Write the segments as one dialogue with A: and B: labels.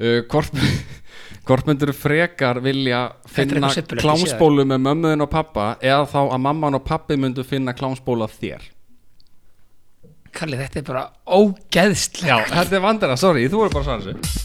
A: uh, hvort, hvort myndur frekar vilja
B: Þetta er
A: finna
B: eitthvað sitbulett, ég sé það.
A: klámsbólu með mömmuðin og pappa eða þá að mamman og pappi myndu finna klámsbólu af þér
B: Kalli, þetta er bara ógeðslega
A: Já, þetta er vandara, sorry, þú voru bara svona þessu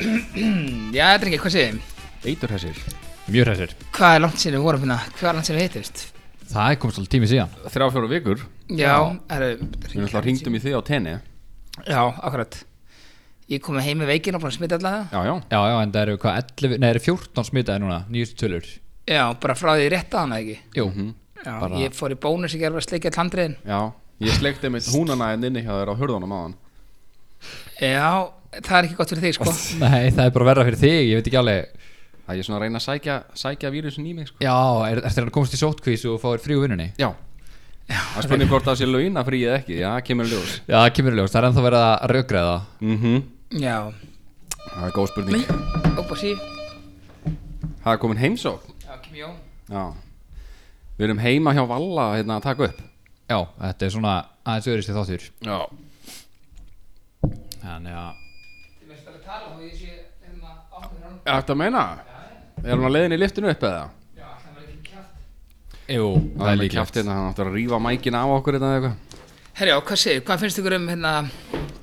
B: Já, þetta er ekki, hvað séðum?
A: Eitur þessir
C: Mjög hressir
B: Hvað er langt sinni við vorum hérna? Hvað er langt sinni við hittist?
C: Það er komst alveg tími síðan
A: Þrjá fjóru vikur,
B: Já, það eru
A: við náttúrulega ringdum í þig á tenni Já,
B: Já, akkurat Ég kom heim með veikin og búin að smita alla það
A: já,
C: Já, já, en það eru hvað 11, nei, það eru 14 smitaði núna, nýjustu tölur
B: Já, bara frá því rétt að hana ekki
C: Jú,
B: Já,
C: Bara-
B: ég fór í bónus í gerfa að sleikja tlandriðin
A: já Ég sleikti mitt húnanæðin inni hjá þér á hurðunum á
B: Já, það er ekki gott fyrir þig sko
C: nei, það er bara verra fyrir þig, ég veit ekki alveg
A: Það ég svona að reyna að sækja, sækja vírusin í mig sko.
C: Já, er, ertu að komast í sótkvís og fáir frí úr vinnunni?
A: Já Það spurning hvort það sé launa frí eða ekki, já, kemur í ljós
C: Já, það kemur í ljós, það er ennþá verið að rökgræða
A: mm
B: Já,
A: Það er góð spurning
B: ópa sí
A: Það er komin heimsókn
B: Já, kem ég á
A: Já Við erum heima hjá Valla hérna að taka upp
C: Já, þetta er svona aðeins öðrisi þáttur
A: Já
C: Þannig að
B: Ég veist að tala og ég sé hérna áhugur hann
A: Þetta meina Er hún að leiðin í liftinu upp eða?
B: Já, það var ekki kjátt
C: Jú, það,
A: Það
C: er
A: er líka
C: líklegt
A: kjátt hérna, hann áttur að rífa mækin af okkur hérna eða eitthvað
B: Herjá, hvað segir, hvað finnst ykkur um hérna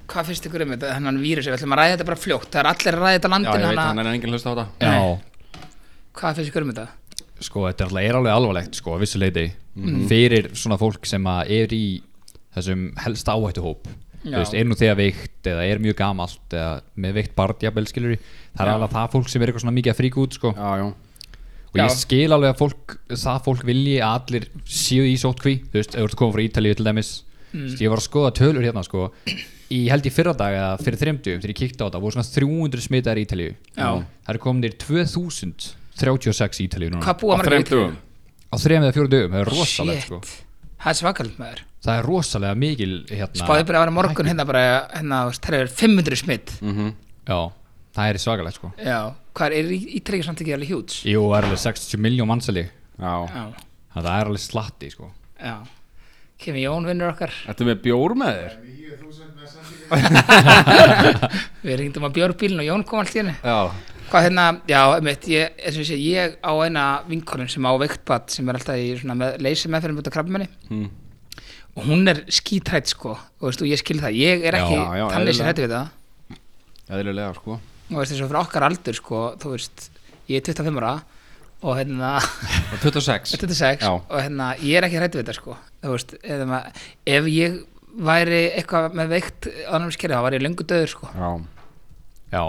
B: Hvað finnst ykkur um þetta, hennan vírus Við ætlum að ræða þetta bara fljótt, það er allir að ræða þetta á
A: Já, ég
B: landinu
A: veit, hann
B: hana,
A: er enginn hlust á þetta
C: Já,
B: Hvað finnst ykkur um þetta?
C: sko, þetta er alveg, er alveg alvarlegt sko, að vissu leiti
B: Mhm.
C: fyrir svona fólk sem að er í þessum helst áhættuhóp þú
B: Já.
C: veist, er nú þegar veikt eða er mjög gamalt eða með veikt barn, jafnvel skilur það
B: Já.
C: er alveg það fólk sem er eitthvað svona mikið að fríka út sko.
A: Já, já
C: og ég
B: Já.
C: skil alveg að fólk, það fólk vilji að allir séu í sótkví þú veist, ef þú ert komið frá Ítalíu til dæmis mm. ég var að skoða tölur hérna sko í held í fyrradag eða fyrir þreymdugum þegar ég kíkti á þetta, voru svona 300 smitaðar í Ítalíu
B: Já.
C: það eru kominir 2036 í Ítalíu núna
B: Hvað
A: Á
B: búa margir
A: þrem
B: í Ítalíu?
A: dögum.
C: á þrejum eða fjórum dögum, það er rosalega sko.
B: Shit. Það er svakalit maður
C: það er rosalega mikil hérna,
B: Spáði bara að vera morgun hérna bara hérna, þú veist, það er 500 smitt
A: Mhm.
C: já, það er svakalegt sko
B: Já, hvað er, er Ítalíu samt ekki alveg hjúts?
C: jú, það er alveg 60 miljón mannsali
A: Já
B: Já,
C: það er alveg slatti sko
B: já Kemi Jón vinnur okkar
A: Ertu með bjór með þér?
D: 9000 með sendingar
B: Við ringdum á björbílinn og Jón kom allt í henni
A: Já
B: Hvað hérna, já, einmitt, ég, er, sem sé, ég á eina vinkonum sem á veiktbatt sem er alltaf í svona með, leysi meðferðum út af krabbumenni
A: Mm.
B: og hún er skítrætt sko og veist þú, ég skil það, ég er ekki
A: Já, já,
B: tannleysi
A: eðlilega.
B: hrætt við það
A: Eðlilega sko
B: og veist þessu fyrir okkar aldur sko þú veist, ég er 25 ára og hérna,
A: 26
B: 26
A: Já.
B: og hérna, ég er ekki hrætt við þetta sko þú veist, eða maður, ef ég væri eitthvað með veikt ánæmiskerið, þá væri ég löngu döður sko
A: Já
C: já,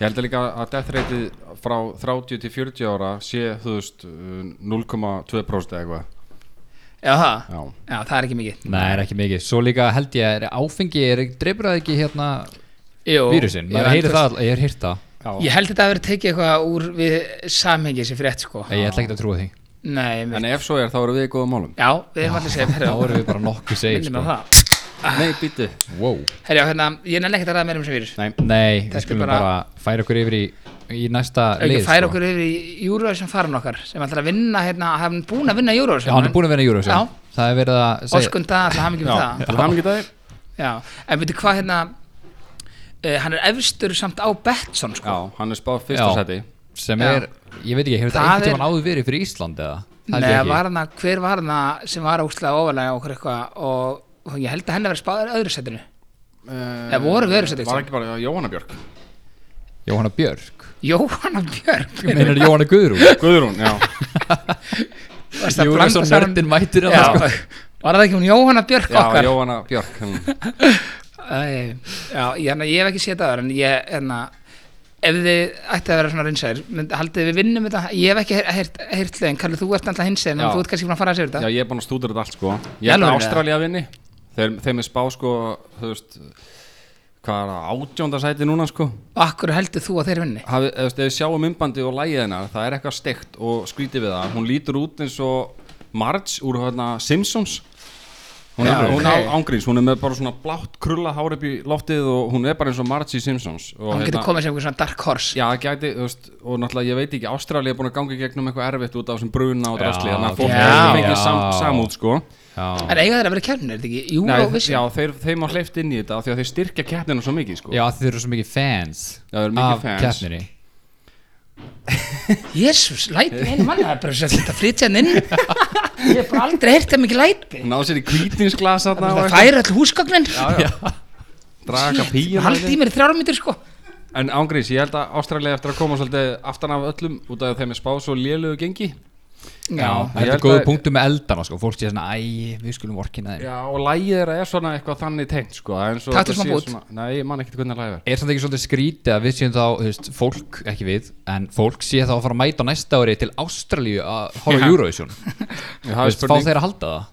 A: Ég held að líka að death rate frá 30 til 40 ára sé, þú veist, uh, 0,2% eða eitthvað.
B: já, það,
A: Já.
B: já, það er ekki mikið
C: nei, það er ekki mikið svo líka held ég að er áfengi er, dreifur það ekki hérna
B: Jú,
C: vírusin,
B: já,
C: maður
B: en þú
C: heyrir
B: veist-
C: það all- ég er heyrt það,
B: Ég held þetta að vera tekið eitthvað úr við samhengi sem frétt sko
C: ég ætla ekki að trúa því
B: Nei, mér,
A: En ef svo er, þá erum við í góðum málum.
B: já, við erum allir segið
C: þá erum við bara nokkuð segir
B: minnum á
C: sko.
B: það
A: Nei, býttu.
C: wow.
B: Herjá, hérna, ég nenni ekkert að ræða meira um sem vírus
A: Nei.
C: nei,
B: Þetta er
C: við skulum
B: bara-
C: bara, færa okkur yfir í, í næsta
B: Ekki
C: lið
B: færa
C: sko.
B: okkur yfir í Eurovision faran okkar sem ætlar að vinna, hérna, hann er búin að vinna Eurovision
C: já, hann er búin að vera í
B: Já.
C: Eurovision það er verið að segja
B: Óskun það, alltaf hamingjum
A: Já,
B: um það
A: til hann geta þig.
B: Já, en veitu hvað hérna uh, hann er efstur samt á Betsson
A: Já,
B: sko.
A: hann er spáð fyrsta
C: Já.
A: seti.
C: sem
B: Já.
C: er, ég veit ekki, hefur þetta
B: Það
C: einhvern
B: er-
C: tímann áður verið fyrir Ísland eða? Held ég
B: Nei,
C: ekki.
B: var hana, hver var hana sem var óslega ofalega okkur eitthvað og, og ég held að henni verið spáður öðru setinu
A: Það
B: Nei, voru við öðru sæti,
A: Eh,
B: sko.
A: Var
B: ekki?
A: ekki bara Jóhanna Björk.
C: Jóhanna Björk
B: Jóhanna Björg
C: Meinar Jóhanna Guðrún
A: Guðrún, já.
B: varstu að blanda
C: Júrasson
B: saman-
C: nördin mættir að
B: Já,
C: það sko
B: var það ekki hún Jóhanna Björk
A: já,
B: okkar?
A: Jóhanna Björk. Hún-
B: Æ, já, ég, hérna, ég hef ekki séð það áður, en ég, hérna, ef þið ætti að vera svona rinsæðir, mynd, haldið við vinnum þetta, ég hef ekki heyrt- heyrt heyrt lögin, Kalli, þú ert alltaf hinsæðin, en
A: Já.
B: þú ert kannski búin að fara að segja
A: Já,
B: þetta.
A: ég er búin að stúdra þetta allt, sko.
B: Í
A: Ég er
B: alvöru,
A: að
B: eða?
A: Ástralja vinni. Þeir, þeim er spáð, sko, þú veist, hvað er það, átjónda sæti núna, sko.
B: Akkur heldur þú að þeir vinni?
A: hafi, eða, veist, ef við sjáum umbandi og lægið hennar það er eitthvað steikt og skrítið við það hún lítur út eins og Marge úr hérna, Simpsons Hún,
B: Já,
A: er, hún á
B: ok.
A: ángríns, hún er með bara svona blátt krulla hár upp í loftið og hún er bara eins og Margie Simpsons og
B: hann getur komið sem einhver svona dark horse
A: hérna. Já, það gæti, þú veist, og náttúrulega ég veit ekki Ástralja er búin að ganga í gegnum eitthvað erfitt út af þessum bruna og
C: Já,
A: drasli þannig að fólk
B: já,
A: hefur fengið
C: já.
A: sam, samút, sko
C: já.
B: en eiga þeir að vera kjærnir, er þetta ekki? Jú,
A: Nei,
B: Nei,
A: já, þeir, þeim á hleyft inn í þetta af því að þeir styrkja keppnina svo mikið, sko
C: já þeir eru svo mikið fans
A: Já, þeir eru mikið
C: af
A: fans.
C: keppninni
B: Jésús, lætin einu mann það er bara að þetta flytja hann inn ég hef bara aldrei heyrt það mikið læti
A: Ná sér í kvítinsglasa
B: það er færi all húsgagnin
A: já, já. Draga píjum
B: haldi í mér í þrjára mítur sko
A: En ángríns, ég held að Ástralja eftir að koma svolítið aftan af öllum út af því að þeim er spáð svo lélugu gengi
C: Já,
A: Ég
C: þetta
A: held
C: er góðu
A: að-
C: punktu með eldana sko. fólk sé svona, æ, við skulum vorkina þeim
A: Já, og lægið þeirra er svona eitthvað þannig tengt, sko en svo
B: Taktu
A: þetta
B: smá
A: sé
B: bút.
A: svona- Nei, ég man ekkert hvernig lægið er
C: Er samt ekki svolítið skrítið að við séum þá, þú veist, fólk, ekki við, en fólk sé þá að fara að mæta á næsta ári til Ástralíu að horfa
A: Já.
C: á Eurovision. Þú
A: Ég hafi
C: veist, fá
A: spurning-
C: þeir að halda það?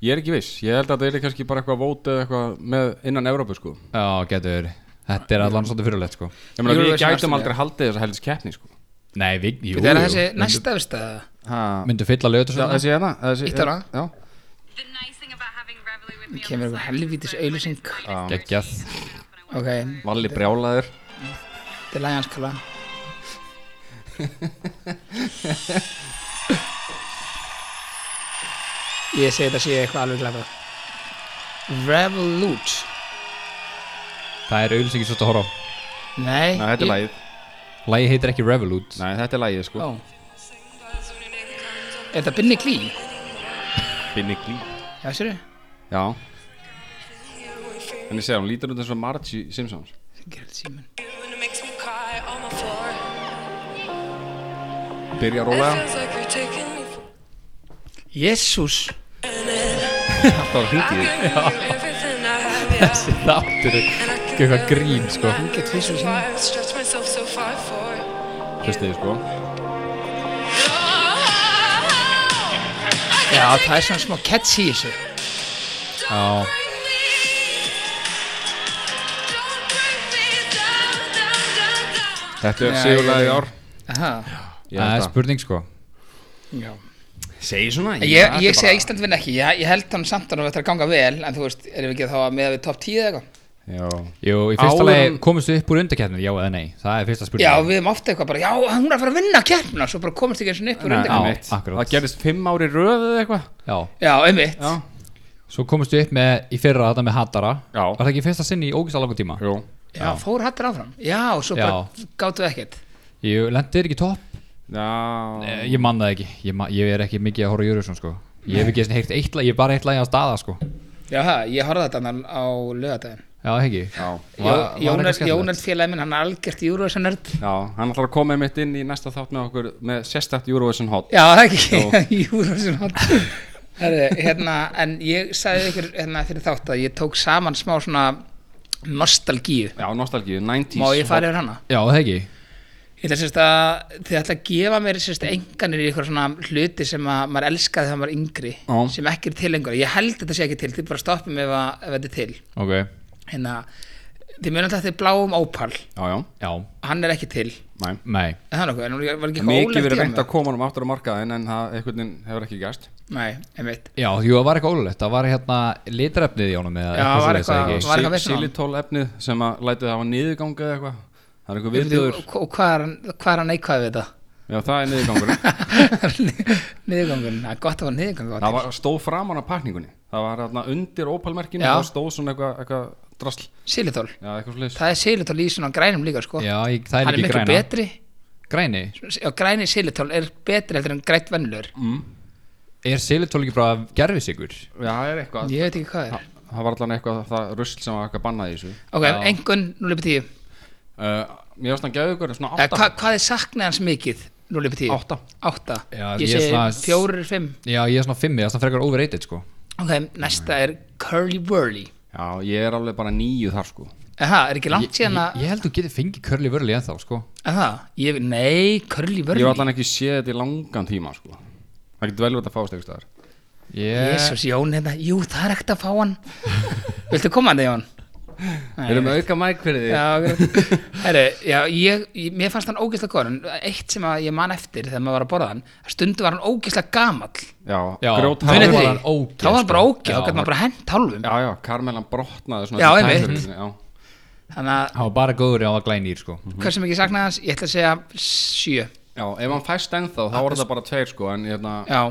A: Ég er ekki viss, ég held að það er kannski bara eitthvað vót eða eitthvað með innan Evrópu sko
C: Já, getur verið. Þetta er allan svolítið fyrirlegt, sko.
A: Ég meina við
B: Eurovision
A: gætum
B: Ástralía.
A: aldrei haldið þessa helst keppni sko
C: Nei, við, jú,
B: þetta er þessi
C: myndu-
B: næsta viðstæða
A: Ha,
C: Myndu fylla lögut og
A: Já,
C: svona.
A: þessi hérna þessi-
B: Ítt á hana.
A: Já,
D: The nice thing about having Reveille with me on
B: kemur eitthvað
D: the side is
B: helvítis
D: that when it's
B: auglýsing.
D: my
A: Já.
D: next
C: Geggjað.
D: routine, when I
B: ok,
A: Valli brjálaður
B: þetta er sko. lagi hans kalla ég segi þetta sé eitthvað alveg glæða Revolute
C: Það er auðvitað ekki svolítið að horfa á.
B: nei,
A: Nei, þetta er lægið
C: Lægi heitir ekki Revolut.
A: Nei, þetta er lægið sko
B: Ó. er þetta Binni Klí?
A: Binni glý
B: já, sér
A: Já En ég segja, hún lítur út eins og Margie Simpsons
B: þau?
E: And it makes me cry on the floor.
A: Byrja að
E: It
A: róla
E: feels like you're taking me for
B: jésús
A: Alltaf að
E: I
A: hringi þig
E: give you everything I have, yeah.
C: Þáttur er
E: And I can
C: eitthvað
E: feel
C: grín,
E: everything
C: sko.
E: I
B: Get
E: do
B: visuals in
E: before I've stretched myself so far for.
A: Fyrst þig sko
B: já, það er svona smá catchy í þessu
C: Já.
A: Þetta er
B: Nei,
A: sigurlega í
B: ég-
A: ár
B: Aha.
A: Ég
C: Það er
A: held
C: spurning, sko.
B: já
A: Segir svona
B: Ég, ég segi að Ísland vinna ekki, ég, ég held hann samt að hann þetta er að ganga vel, en þú veist, erum við ekki þá að meða við top 10 eða eitthvað?
A: Já
C: Jú, í fyrsta
A: Áður-
C: lagi komist upp úr undarkeppnir, já eða nei. Það er fyrsta
B: Já,
C: spurning.
B: við erum ofta eitthvað bara, já, hún er að fara að vinna keppna, svo bara komast ekki eins og upp úr
A: Nei,
B: undir.
A: einmitt.
C: akkurat.
A: Það gerist fimm ári röð eða eitthvað
C: Já.
B: Já, einmitt.
A: Já.
C: Svo komist upp með, í fyrra þetta með Hattara.
A: Já.
C: Var það ekki í fyrsta sinni í ógæsta langan tíma?
A: Jú
B: Já, fór hattar áfram. Já, og svo bara gáttu ekkert.
C: Jú, lendir ekki í topp? Eh,
A: Já
C: Ég man það ekki, ég, man, ég er ekki mikið að horfa Júriðsson sko Ég hef ekki eins og heilt eitt lag, ég er bara eitt lag að staða sko
B: Já, ha, ég horfði þetta hann á lögadaginn.
C: Já, ekki
A: Já
C: Var- var eitthvað skemmtilegt?
B: Jónald félagi minn, hann er algjört júruvæsanörd.
A: Já, hann ætlar að koma einmitt inn í næsta þátt með okkur með sérstætt Eurovision hot
B: Já, það er ekki júruvæsanörd. Herri, hérna, en ég sagði ykkur hérna fyrir þátt að ég tók saman smá svona nostalgíu.
A: Já, nostalgíu, 90s
B: Má ég fara yfir hana?
C: Já, það ekki
B: Ég ætla sérst að þið ætla að gefa mér sérst enganir í eitthvað svona hluti sem að maður elskaði þegar maður var yngri
A: Já.
B: sem ekki er til lengur. Ég held þetta sé ekki til, þið bara stoppum ef, að, ef þetta er til.
C: Ok
B: Hérna, þið munum alltaf þið bláum ópal,
A: Já, já,
C: Já,
B: hann er ekki til.
A: næ
C: nei
B: Er Það er nokkuð, en hún var ekki eitthvað
A: Mikið
B: ólegt
A: verið
B: í
A: reynd að
B: hann.
A: koma hann aftur á markaðin en það einhvern veginn hefur ekki gæst
B: Nei, einmitt.
C: Já, jú, það var eitthvað ólulegt, það var hérna litrefnið í honum eða
B: Já, var
C: svoleiðis, eða
B: eitthvað-
C: ekki?
B: var- eitthvað vesen á honum?
A: Silitól efnið sem að lætið hafa niðurgang eða eitthvað Það er eitthvað
B: Bíddu,
A: viðbjöður
B: Og og hvað er, hann- hvað er hann neikvæð við þetta?
A: Já, það er niðurgangurinn
B: Niðurgangun, það er gott að fá niðurgang á
A: Það var, stóð framan af pakningunni Það var þarna undir ópalmerkinu
B: Já.
A: og stóð svona eitthvað, eitthvað drasl
B: Silitól,
A: Já, eitthvað sliðis
B: það er silitól í svona grænum líka sko.
C: Já, ég, það
B: hann er
C: er ekki
B: miklu
C: græna
B: betri
C: Græni,
B: og græni silitól er betri heldur en grænt vennlur.
C: Mm. er silitól ekki bara gerfis ykkur?
A: Já, það er eitthvað
B: Ég veit ekki hvað það er.
A: Það var allan eitthvað það rusl sem var eitthvað bannað í þessu
B: Ok, engun 0.10
A: uh, Mér varst hann gæðu ykkur svona
B: Eh,
A: 8
B: hva, Hvað er saknað hans mikið 0.10?
A: Átta.
B: 8
C: Já,
B: Ég
C: ég er
B: segi
C: svona-
B: 4, 5
C: Já, ég er svona fimmi, það er svona frekar overrated sko
B: Ok, næsta er Curly Whirly
A: Já, ég er alveg bara nýju þar sko
B: Aha, er ekki langt síðan
C: Ég,
B: að
C: ég held þú getur fengið curly vörli ennþá sko
B: Aha, ég, nei, Curly
A: Ég
B: Whirly
A: var allan ekki séð þetta í langan tíma sko Það getur vel verið að fást eitthvað staðar
C: Ég,
B: Jesus, Jón hérna, jú, það er ekkert að fá hann Viltu koma hann þegar Jón?
A: Við erum að auka mæk fyrir því
B: Já, akkurat. Herru, já, ég, ég, mér fannst hann ógeðslega góður en eitt sem að ég man eftir þegar maður var að borða hann að stundu var hann ógeðslega gamall
A: Já,
C: Já,
A: grjótharður.
C: Munið
B: Munið þið?
C: var hann ógeð,
B: Þá var hann bara
C: sko.
B: ógeð,
C: Já,
B: þá gæti maður bara hent hálfum
A: Já, já, Karmelan brotnaði svona
B: Já,
A: eftir
B: einmitt.
A: tækifæri sinni, Já,
B: Þannig að,
C: hann var bara góður en hann var glænýr sko
B: hversu mikið ég saknaði hans, ég ætla að segja sjö
A: já, ef hann fæst ennþá þá voru það bara tveir sko en hérna,
B: Já,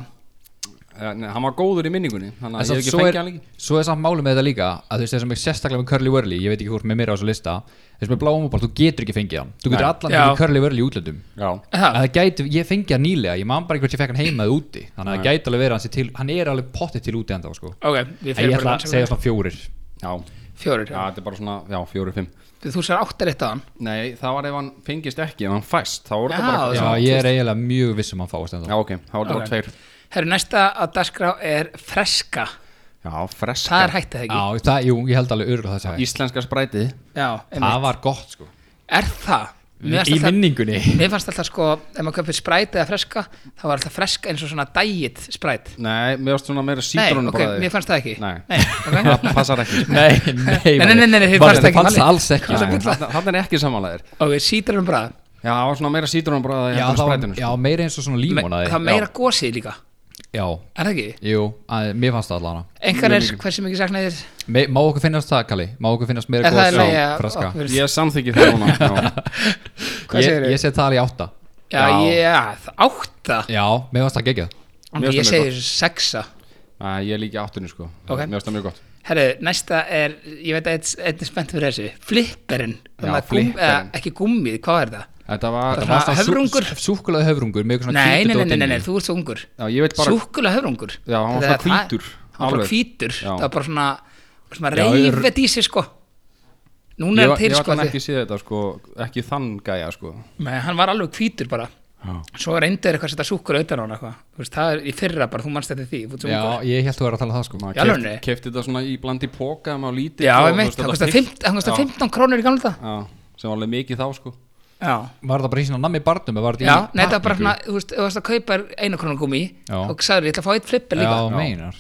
A: eh, nei, hann var góður í minningunni þannig
C: En
A: að ég hef
C: samt
A: ekki
C: svo er,
A: fengið hann líka
C: svo er samt málum með þetta líka að þú veist það sem er sérstaklega með Curly Whirly ég veit ekki hvort með mér á þessu lista þess með bláum og bara þú getur ekki fengið hann þú getur
A: Nei.
C: allan
B: Já.
C: fengið Curly Whirly í útlöndum
A: Já,
B: Ha.
C: að það gæti, ég fengi hann nýlega ég man bara ekki hvort ég fekk hann heima eða úti þannig að það gæti alveg verið hans til hann er alveg pottið til úti enda sko.
B: ok, við
C: en ég
B: fyrir
C: ætla
B: bara
C: að segja svona fjórir
A: já,
B: Fjórir,
A: já,
B: já.
A: þetta er bara svona, já, fjóru, fimm
B: þú sér áttar eitt á hann
A: Nei, það var ef hann fengist ekki, ef hann fæst þá voru
B: Já,
A: það bara
C: já,
B: svona,
C: ég er eiginlega mjög viss um að hann fáist
A: Já,
C: enda
A: ok, þá voru það bara
B: Ok.
A: tveir
B: Herru, næsta að dagskrá er freska
A: Já, freska
B: Það er hægt að það ekki
C: já, það, jú, ég held alveg örgulega það sagði
A: Íslenska sprætið
B: Já,
C: það
B: einmitt.
C: var gott sko
B: Er það? Mér fannst
C: í
B: alltaf-
C: minningunni
B: Mér fannst alltaf sko, ef maður köpir spræt eða freska, þá var alltaf freska eins og svona dægit spræt.
A: Nei, mér varst svona meira
B: Nei,
A: sítrónu
B: ok, mér fannst það ekki.
A: Nei.
B: Nei, ok.
A: Það passar ekki sko.
C: nei, nei,
B: Nei, nei, nei, nei, þið
C: Var-
B: fannst
C: þið
B: ekki
C: fannst það
B: málið.
C: alls ekki
A: Nei,
C: sko.
A: þarna þarna er ekki samanlegaðir
B: ok, sítur um bræða.
A: Já, það var svona meira sítrónu bræði
C: já, það var,
A: sko.
C: já, meira eins og svona límonaði
B: sko. Það er meira gósið líka,
C: já,
B: er það ekki?
C: jú, að, mér fannst það allan
B: Engar er hversu mikið saknaði þér?
C: Me- má okkur finnast það, Kalli, má okkur finnast meira
B: Er það í
C: gos á
B: lagi að
C: fraska
B: okkur-
A: Ég samþyggi það núna já.
B: Hvað
C: ég,
B: segirðu?
C: ég set það alveg átta
B: Já, ég, það- átta.
C: já, mér fannst það geggjað
A: Mér finnst
B: Ég
A: það
B: segi sexa.
A: Æ, Ég er líka í áttunni sko
B: Ok.
A: Mér finnst það mjög gott
B: Herru, næsta er, ég veit að einn- einn er spennt fyrir þessu, flipperinn.
A: Já,
B: Þannig að gúm-
A: flipperinn.
B: eða Ekki gummið, hvað er það?
A: Þetta var
B: Það- höfrungur?
C: súkulega höfrungur með eitthvað svona
B: Nei, nei,
C: hvítu
B: nei, nei,
C: dót
B: nei,
C: inni.
B: nei, þú ert svo ungur.
A: Já, ég veit bara
B: Súkkulega höfrungur
A: Já, hann var
B: Þetta-
A: svona
B: það-
A: hvítur,
B: Hann var bara
A: alveg.
B: hvítur,
A: Já.
B: það var bara svona, svona
C: Já, ég er-
B: reyfet í sig sko Núna
A: Ég var
B: er hann til
A: ég var
B: sko
A: þannig
B: því-
A: ekki séð þetta sko Ekki þann gæja sko
B: Nei, hann var alveg hvítur bara
A: Já.
B: Svo reyndu þeir eitthvað að setja súkkulega utan á hann eitthvað Þú veist, það er í fyrra bara, þú manst þetta því, þú ert svo
C: já,
B: ungur
C: ég held þú var að tala um það sko
B: Já, alveg.
A: Kefti þetta svona í blandi póka Það má lítið
B: Já,
A: og, þú
B: einmitt,
A: veist,
B: það
A: þetta
B: kostar
A: pilt-
B: 15 hann kostar
A: Já,
B: 15 krónur í gamla þetta
A: Já, sem var alveg mikið þá sko
B: Já,
C: var það bara í svona nammi barnum eða var þetta í
B: já, nei, þetta var bara
C: pappír?
B: svona, þú veist, ef þú varst að kaupa þér einu krónu gumi
C: Já.
B: og sagður, ég ætla að fá eitt flipper líka
C: já, meinar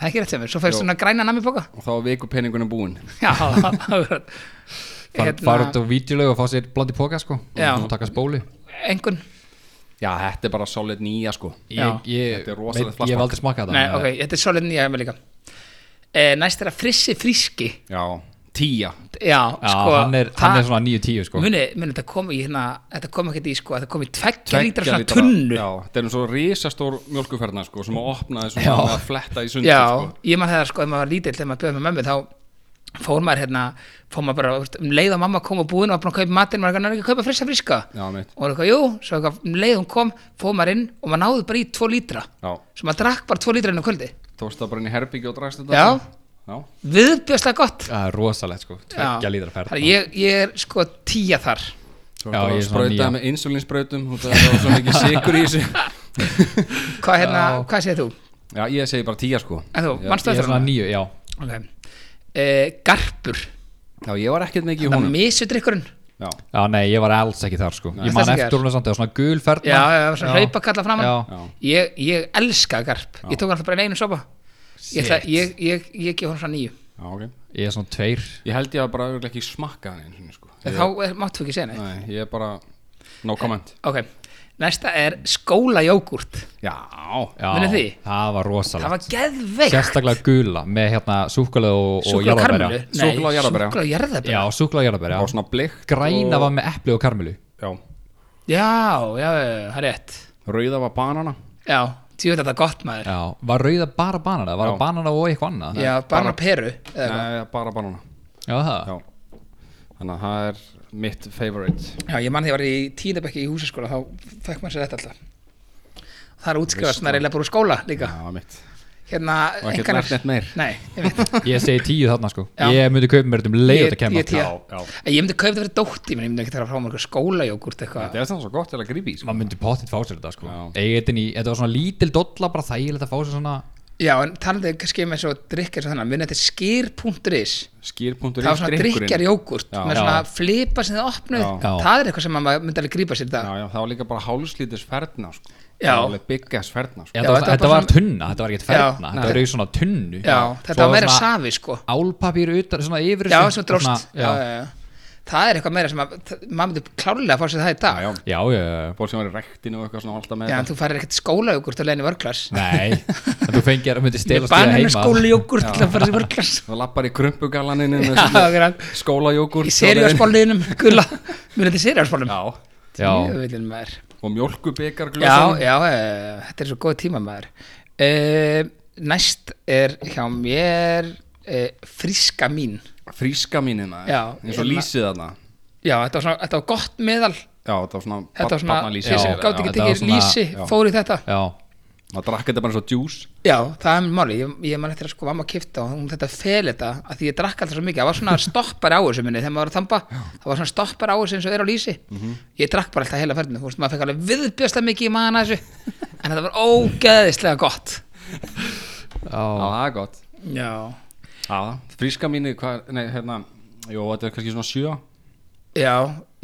B: Það er ekki rétt sem er, svo fæst
A: Jó.
B: svona græna nammi boka
A: Og þá var vikupenningunum búinn
B: Já, akkurat.
C: Far- fara út á vídeolög og fá sér blandi póka sko
B: Hérna- Já.
C: og taka spóli
B: Engun
A: Já, þetta er bara solid nýja sko
B: Já.
C: ég, ég,
A: Þetta er rosalegt
C: veit- ég
A: plastmagn.
C: hef aldrei smakað
B: Nei,
C: þetta
B: ok, þetta er svolítið nýja hjá mér líka e, Næst er að frissi fríski
A: Já, tíja
B: Já,
C: já,
B: sko
C: hann, er, hann er svona 9-10 sko
B: Muni, muni, þetta kom í hérna Þetta kom ekkert í, sko, þetta kom í tveggja
A: Tveggja
B: lítra svona
A: lítra-
B: tunnu Já,
A: Já, þetta er eins og risastór mjölkuferna sko sem að opna þessum
C: Já.
A: með að fletta í sundu sko.
B: ég man það, sko, ef maður var lítill þegar maður bjöði með mömmu þá fór maður hérna fór maður bara, þú veist, um leið og mamma kom á búðin og var búin að kaupa matinn, maður kannar ekki að kaupa frissa fríska
A: Já, mitt
B: og var eitthvað, jú, svo eitthvað, um leið hún kom fór maður inn og maður náði bara í tvo lítra
A: Já,
B: svo maður drakk bara tvo lítra inn á kvöldi
A: þú varst það bara inn í herbyggju og drakst þetta
B: Já.
A: sko. Já,
B: viðbjöðslega gott
C: það er rosalegt sko tveggja
B: Já.
C: lítra ferð
B: Þannig að ég, ég er sko tíja þar
A: svo
C: Já,
A: bara
C: ég er svona
A: sprautaði
C: nýja.
A: með insulinsbrautum og það var svo mikið sikur í þessu
B: Hvað, hérna, hvað segir þú?
A: Já, ég segi bara tíja sko
B: En þú, mannstu
C: ég er
B: eftir
C: svona
B: hann?
C: 9, já
B: Okay. E, garpur,
A: Já, ég var ekkert mikið í
B: það er
A: húnum
B: misudrykkurinn
A: Já,
C: Já, nei, ég var alls ekki þar sko Ég
B: Varst
C: man
B: ekki
C: eftir
B: þar?
C: hún samt, það var svona gul ferð
B: Já, já, það var svona hlaupakalla framan.
C: Já,
A: já,
B: ég, ég elska garp, ég tók hann alltaf bara einu sopa Ég, ætla-
C: Shit.
B: ég, ég, ég gef hann svona nýju
A: já, ok
C: ég er svona tveir
A: Ég held ég að bara örugglega ekki smakka hann einu sinni sko
B: En
A: Ég-
B: Þá er, máttu ekki segja neitt
A: Nei, ég er bara No comment
B: Ok, næsta er skólajógurt
A: Já,
C: Já,
B: Munið þið?
C: það var
B: Það
C: rosalegt
B: var geðveikt
C: Sérstaklega gula með hérna súkulega og, og
B: Súkkulaði og karmelu
C: jarðarberja
B: Nei,
A: Súkkulaði og jarðarberja.
B: súkkulaði og jarðarberja
C: Já, súkulega og jarðarberja
A: og svona bleikt
C: Græna
A: og-
C: var með epli og karmelu
A: Já,
B: Já, já, já, það er rétt
A: rauða var banana
B: Já, tjóðlega þetta gott maður Já,
C: Já, var rauða bara banana, var
A: Já.
C: banana og eitthvað annað
B: já
A: Hérna,
B: bara
A: bara-
B: peru eða eitthvað.
A: Nei, bara banana
C: Já, það
A: Já Þannig að það er mitt favorite
B: Já, ég mann þegar ég var í tíðabekki í húsaskóla þá fekk maður sér þetta alltaf Það er útskrifast, maður er eiginlega bara úr skóla líka
A: Já, mitt
B: Hérna,
A: Og ekkert
B: einkannar-
A: nært neitt meir.
B: Nei, ég veit
C: Ég segi tíu þarna sko
B: Já.
C: Ég myndi kaupa mér þetta um leið
B: Ég-
C: að þetta kemur
B: ég tíu. Já.
A: já
B: En Ég myndi kaupa þetta fyrir dótti, menn ég myndi ekki taka frá mér eitthvað skólajógurt eitthvað
A: Þetta er samt svo gott til að grípi í sko.
C: Maður myndi pottitt fá sér þetta sko
A: Já.
C: Eigin í, þetta var svona lítil dolla bara þægilegt að fá sér svona
B: Já, en talandi um kannski með svo drikkar svo þannig, við þetta skýr.is
A: skýr.is
B: það var svona drikkjar jógurt
A: Já.
B: með svona flipa sem þið opnuð
A: Já.
C: Já.
B: það er eitthvað sem maður myndi alveg grípa sér í dag
A: Já, já, það var líka bara hálslíturs ferna sko.
B: Já.
A: Það var alveg byggjast ferna sko.
C: Já,
B: Já,
C: þetta,
B: þetta
C: var,
B: var
C: þetta
B: bara
C: var tunna, þetta var ekkert ferna
B: Já,
C: Þetta var
B: nei.
C: auðvitað svona tunnu
B: Já, þetta var meira safi sko
C: Álpapír utan, svona yfir
B: Já,
C: þessu,
B: sem dróst
C: svona-
B: já, já, já. Það er eitthvað meira sem að, það- maður myndi klárlega að fá sér það í dag
A: Já,
B: Já,
A: já,
C: Já, já, já
A: fólk sem var í rektinu og eitthvað svona var alltaf með
B: en þú farir ekkert skólajógurt að leiðin í vörklas
C: Nei, en þú fengir að myndi
B: Með
C: stelast því
B: bananum
C: heima
B: skólajógurt til að fara sér í vörklas
A: Það lappar í krumpugalaninu
B: Já, akkurat.
A: skólajógur
B: Í seriáspólniðinum, gula Mér þetta í seriáspólnum
A: Já,
C: Já,
B: maður
A: og mjölkubikar
B: já, já, eh, þetta er svo góð tíma maður uh, næst er hjá mér uh, fríska mín
A: Fríska mínina
B: Já,
A: eins og
B: hérna-
A: lýsið þarna
B: já, þetta var, svona, þetta var gott meðal
A: Já, þetta var svona
B: þetta var svona,
A: barnalýsi.
C: já,
B: þeir sem
A: Já, já,
B: gátt ekki
C: þetta var
B: tekið
C: svona-
B: lýsi
A: já.
B: fóru í þetta
C: já
A: maður drakk þetta bara eins og djús
B: já, það er mjög máli, ég, ég man eftir að sko mamma kipta og hún þetta fel þetta, að því ég drakk alltaf svo mikið, það var svona stoppar á þessu minni þegar maður var að þamba, það var svona stoppar á þessu eins og er á lýsi,
C: Mhm.
B: ég drakk bara alltaf heila ferðinu, þú veist, maður fekk alveg viðbjösta mikið í maðan þessu, en þetta var ógeðislega gott
A: Já,
C: Já,
A: það er gott
B: já,
A: Já, fríska mínu, hvað, nei, hérna Jó, þetta er kannski svona sjö
B: Já,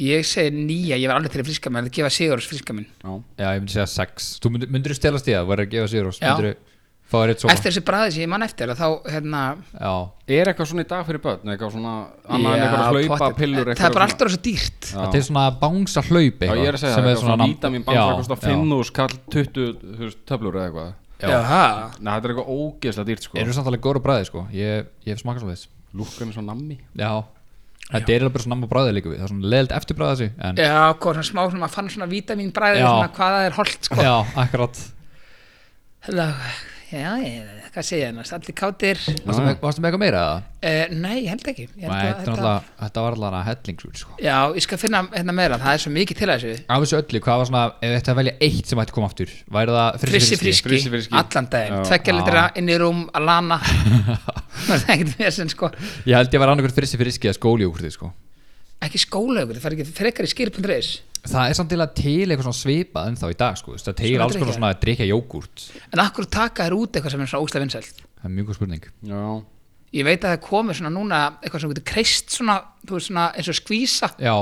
B: ég segi nýja, ég var alveg til að fríska mér, að gefa Sigurðs fríska minn.
A: Já,
C: já ég myndi segja sex Þú myndir, myndir stelast því að þú verður að gefa sér og
B: Já.
C: myndir fá þér eitt svona
B: Eftir þessi bræði sem ég man eftir, að þá, hérna,
C: Já,
A: er eitthvað svona í dag fyrir börn eitthvað svona, annað en
B: já,
A: eitthvað hlaupa
B: pottet.
A: pillur
B: Það er bara
A: eitthvað
B: alltaf svo dýrt.
A: svona-
C: þetta er svona bangsa hlaup
A: Já, ég er að segja það, eitthvað svona vítamin bansa kostar 5 úr skall 20 þú veist, töflur eða eitthvað
C: Já.
B: Jaha.
A: Nei, þetta er eitthvað ógeðslega dýrt sko
C: Erum samt alveg góður á bræði sko Ég, ég hef smakað svona þess
A: Lúkkan er svo nammi
C: Já Þetta er alveg bara svona namma bræði líka við Það er svona leðilt eftir bræði þessu En
B: Já, hvað svona smá, svona, maður fann svona vítamin bræði,
C: Já.
B: svona hvað það er holdt, sko.
C: Já, akkurat
B: Hello. Já, ég, hvað segja þennast, allir kátir.
C: Varstu með, varstu með eitthvað meira eða?
B: Uh, nei, ég held ekki. Ég
C: Nei,
B: held
C: þetta, er náttúrulega- þetta var allavega hellingsrúl sko.
B: Já, ég skal finna hérna meira, það er svo mikið til að þessu.
C: Af þessu öllu, hvað var svona Ef þetta að velja eitt sem ætti að koma aftur Væri það
B: Frissi
C: frissi
B: fríski,
A: frissi fríski.
B: allan daginn,
A: Já.
B: tveggja litra, inn í rúm, að lana. það er ekkert vesinn, sko.
C: Ég held ég að vera annarkvært frissi friski eða skóliúkurti sko.
B: Ekki skólaugur, það fær ekki frekar í skýr.is.
C: Það er samt til að til eitthvað svona svipað en þá í dag sko. þú veist, Það til
B: Svona
C: alls konar
B: drykkja.
C: svona að drikja jógúrt
B: En akkur taka þér út eitthvað sem er svona óslega vinsælt?
C: Það er mjög góð spurning
A: Já,
B: Ég veit að það er komið svona núna eitthvað sem getur kreist svona, þú veist, svona eins og skvísa,
C: Já,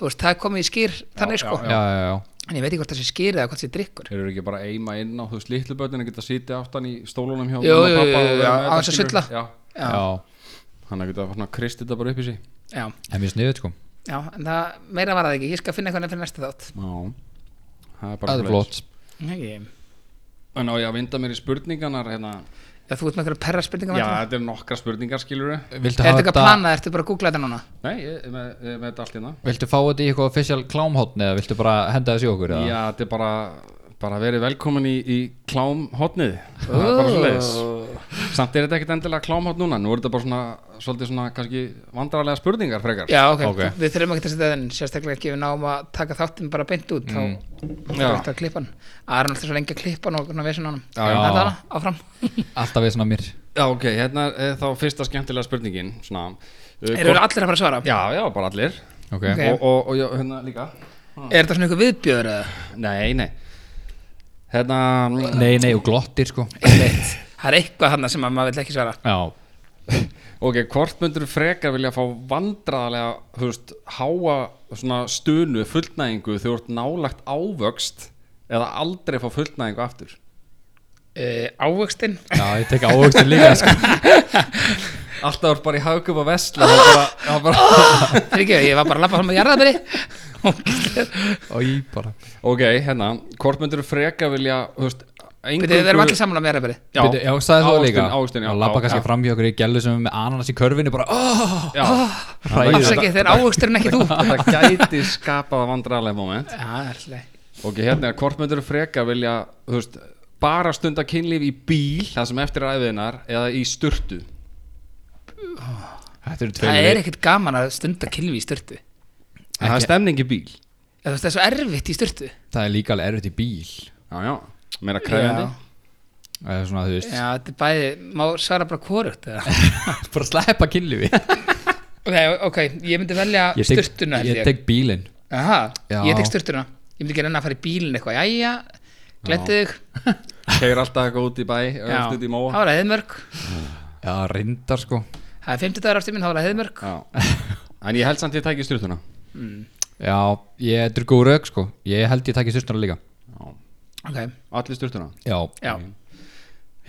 B: þú veist, það er komið í skýr þannig sko.
C: já, já, já, já.
B: En ég veit ekki hvort það sé skýr eða hvort það sé drikkur.
A: þeir eru ekki bara að eima inn á þú veist litlu börnin að geta sitið aftan í stólunum hjá
B: Jú,
A: mamma og
B: jú,
A: pabba
B: jú,
A: og
B: jú,
A: vera
B: já,
A: með þetta,
B: aðeins að
A: skilur.
B: sulla.
A: Já,
B: Já, já,
C: já.
A: hann er getað svona kristið þetta bara upp í sig
B: já,
C: Það er mjög sniðið sko.
B: en það meira var það ekki. Ég skal finna eitthvað fyrir næsta þátt.
A: Já, það er bara
C: Það er
A: svoleiðis.
C: flott
B: Ekki.
A: En á ég að vinda mér í spurningarnar hérna.
B: Já, þú ert með eitthvað perra
A: Já,
B: spurningar með það.
A: þetta er nokkra spurningar skilur
C: Viltu,
B: Er
C: hafa
B: þetta eitthvað planað, ertu bara að googla þetta núna?
A: Nei, ég, er með, ég er með þetta allt hérna
C: viltu fá þetta í eitthvað official klámhóttni eða viltu bara henda þessi okkur eða?
A: Já, þetta er bara, bara verið velkomin í, í klámhotnið Það er bara svoleiðis Samt er þetta ekkit endilega klámhotn núna Nú er þetta bara svona, svolítið svona kannski vandrarlega spurningar frekar
B: Já, ok,
C: Ok.
B: við þurfum ekki að setja það en sérstaklega ekki við náum að taka þáttinn bara beint út mm. þá
A: Já.
B: er þetta að klippa hann Aron er alltaf svo lengi að klippa hann og svona vesen á hann
A: Já, já.
B: Þetta hana, áfram
C: Alltaf við svona mér
A: Já, ok, hérna er þá fyrsta skemmtilega spurningin Svona uh,
B: Eru
A: hvort-
B: allir að fara að svara?
A: Já, já, bara allir
C: okay.
B: Ok.
A: Og, og, og já, hérna líka
B: Er þetta svona einhver viðbjöður eða?
A: Nei, nei Hérna,
C: Nei, nei, og glottir sko.
B: Einmitt. Það er eitthvað hann sem að maður vill ekki svara
C: Já,
A: Ok, hvort myndur frekar vilja fá vandræðalega, þú veist, háa svona stunu, fullnæðingu þegar þú ert nálagt ávöxt eða aldrei fá fullnæðingu aftur?
B: uh, Ávöxtin
C: já, ég tek ávöxtin líka sko.
A: Alltaf þú ert bara í haugum og vesla og bara, og bara...
B: Fyrir ekki, ég var bara að labba fram að jarðabri
C: Í bara
A: Ok, hérna, hvort myndur frekar vilja, þú veist,
B: Við erum allir saman um jarðabri
A: Já,
C: Bíddu, Já, sagði þú það líka
A: Ávöxtin, já
C: Og labba
A: á-
C: kannski
A: já,
C: fram hjá okkur í gælu sem er með ananas í körfinu bara oh,
A: Já,
B: Alls
C: Hræðið
B: ekki, þeir ávöxturinn ekki þú Já,
A: það gæti skapað vandræðalega moment
B: alltaf
A: Ok, hérna, hvort myndur frekar vilja, þú veist, bara stunda kynlíf í bíl, það sem eftir ræðinar, eða í sturtu?
C: Þetta eru tveir
B: Það er
C: leik-
B: ekkert gaman að stunda kilvi í styrtu
A: Það er
C: Ekki-
A: stemning í bíl
B: Það er svo erfitt í styrtu
C: Það er líka alveg erfitt í bíl
A: Já, já, meira krefjandi
C: Það er svona, þú veist
B: Já, þetta er bæði, má svara bara korugt eða?
C: Bara sleppa kynlífi
B: ok, ok, ég myndi velja
C: Ég tek-
B: styrtuna held
C: Ég tek bílinn
B: Aha,
C: Já.
B: ég tek styrtuna Ég myndi ekki reyna að fara í bílinn eitthvað Jæja, gletti þig
A: Keir alltaf eitthvað út í bæ Öft út í
B: það
A: móa
B: var að heiðmörk
C: Já, reyndar sko
B: það er 50 dagar aftur minn, það var að heiðmörk
A: Já. En ég held samt ég tæki styrtuna
C: Já, ég þetta er góð rauk sko Ég held ég takki sýstuna líka
B: ok,
A: Allir styrtuna
C: Já,
B: já,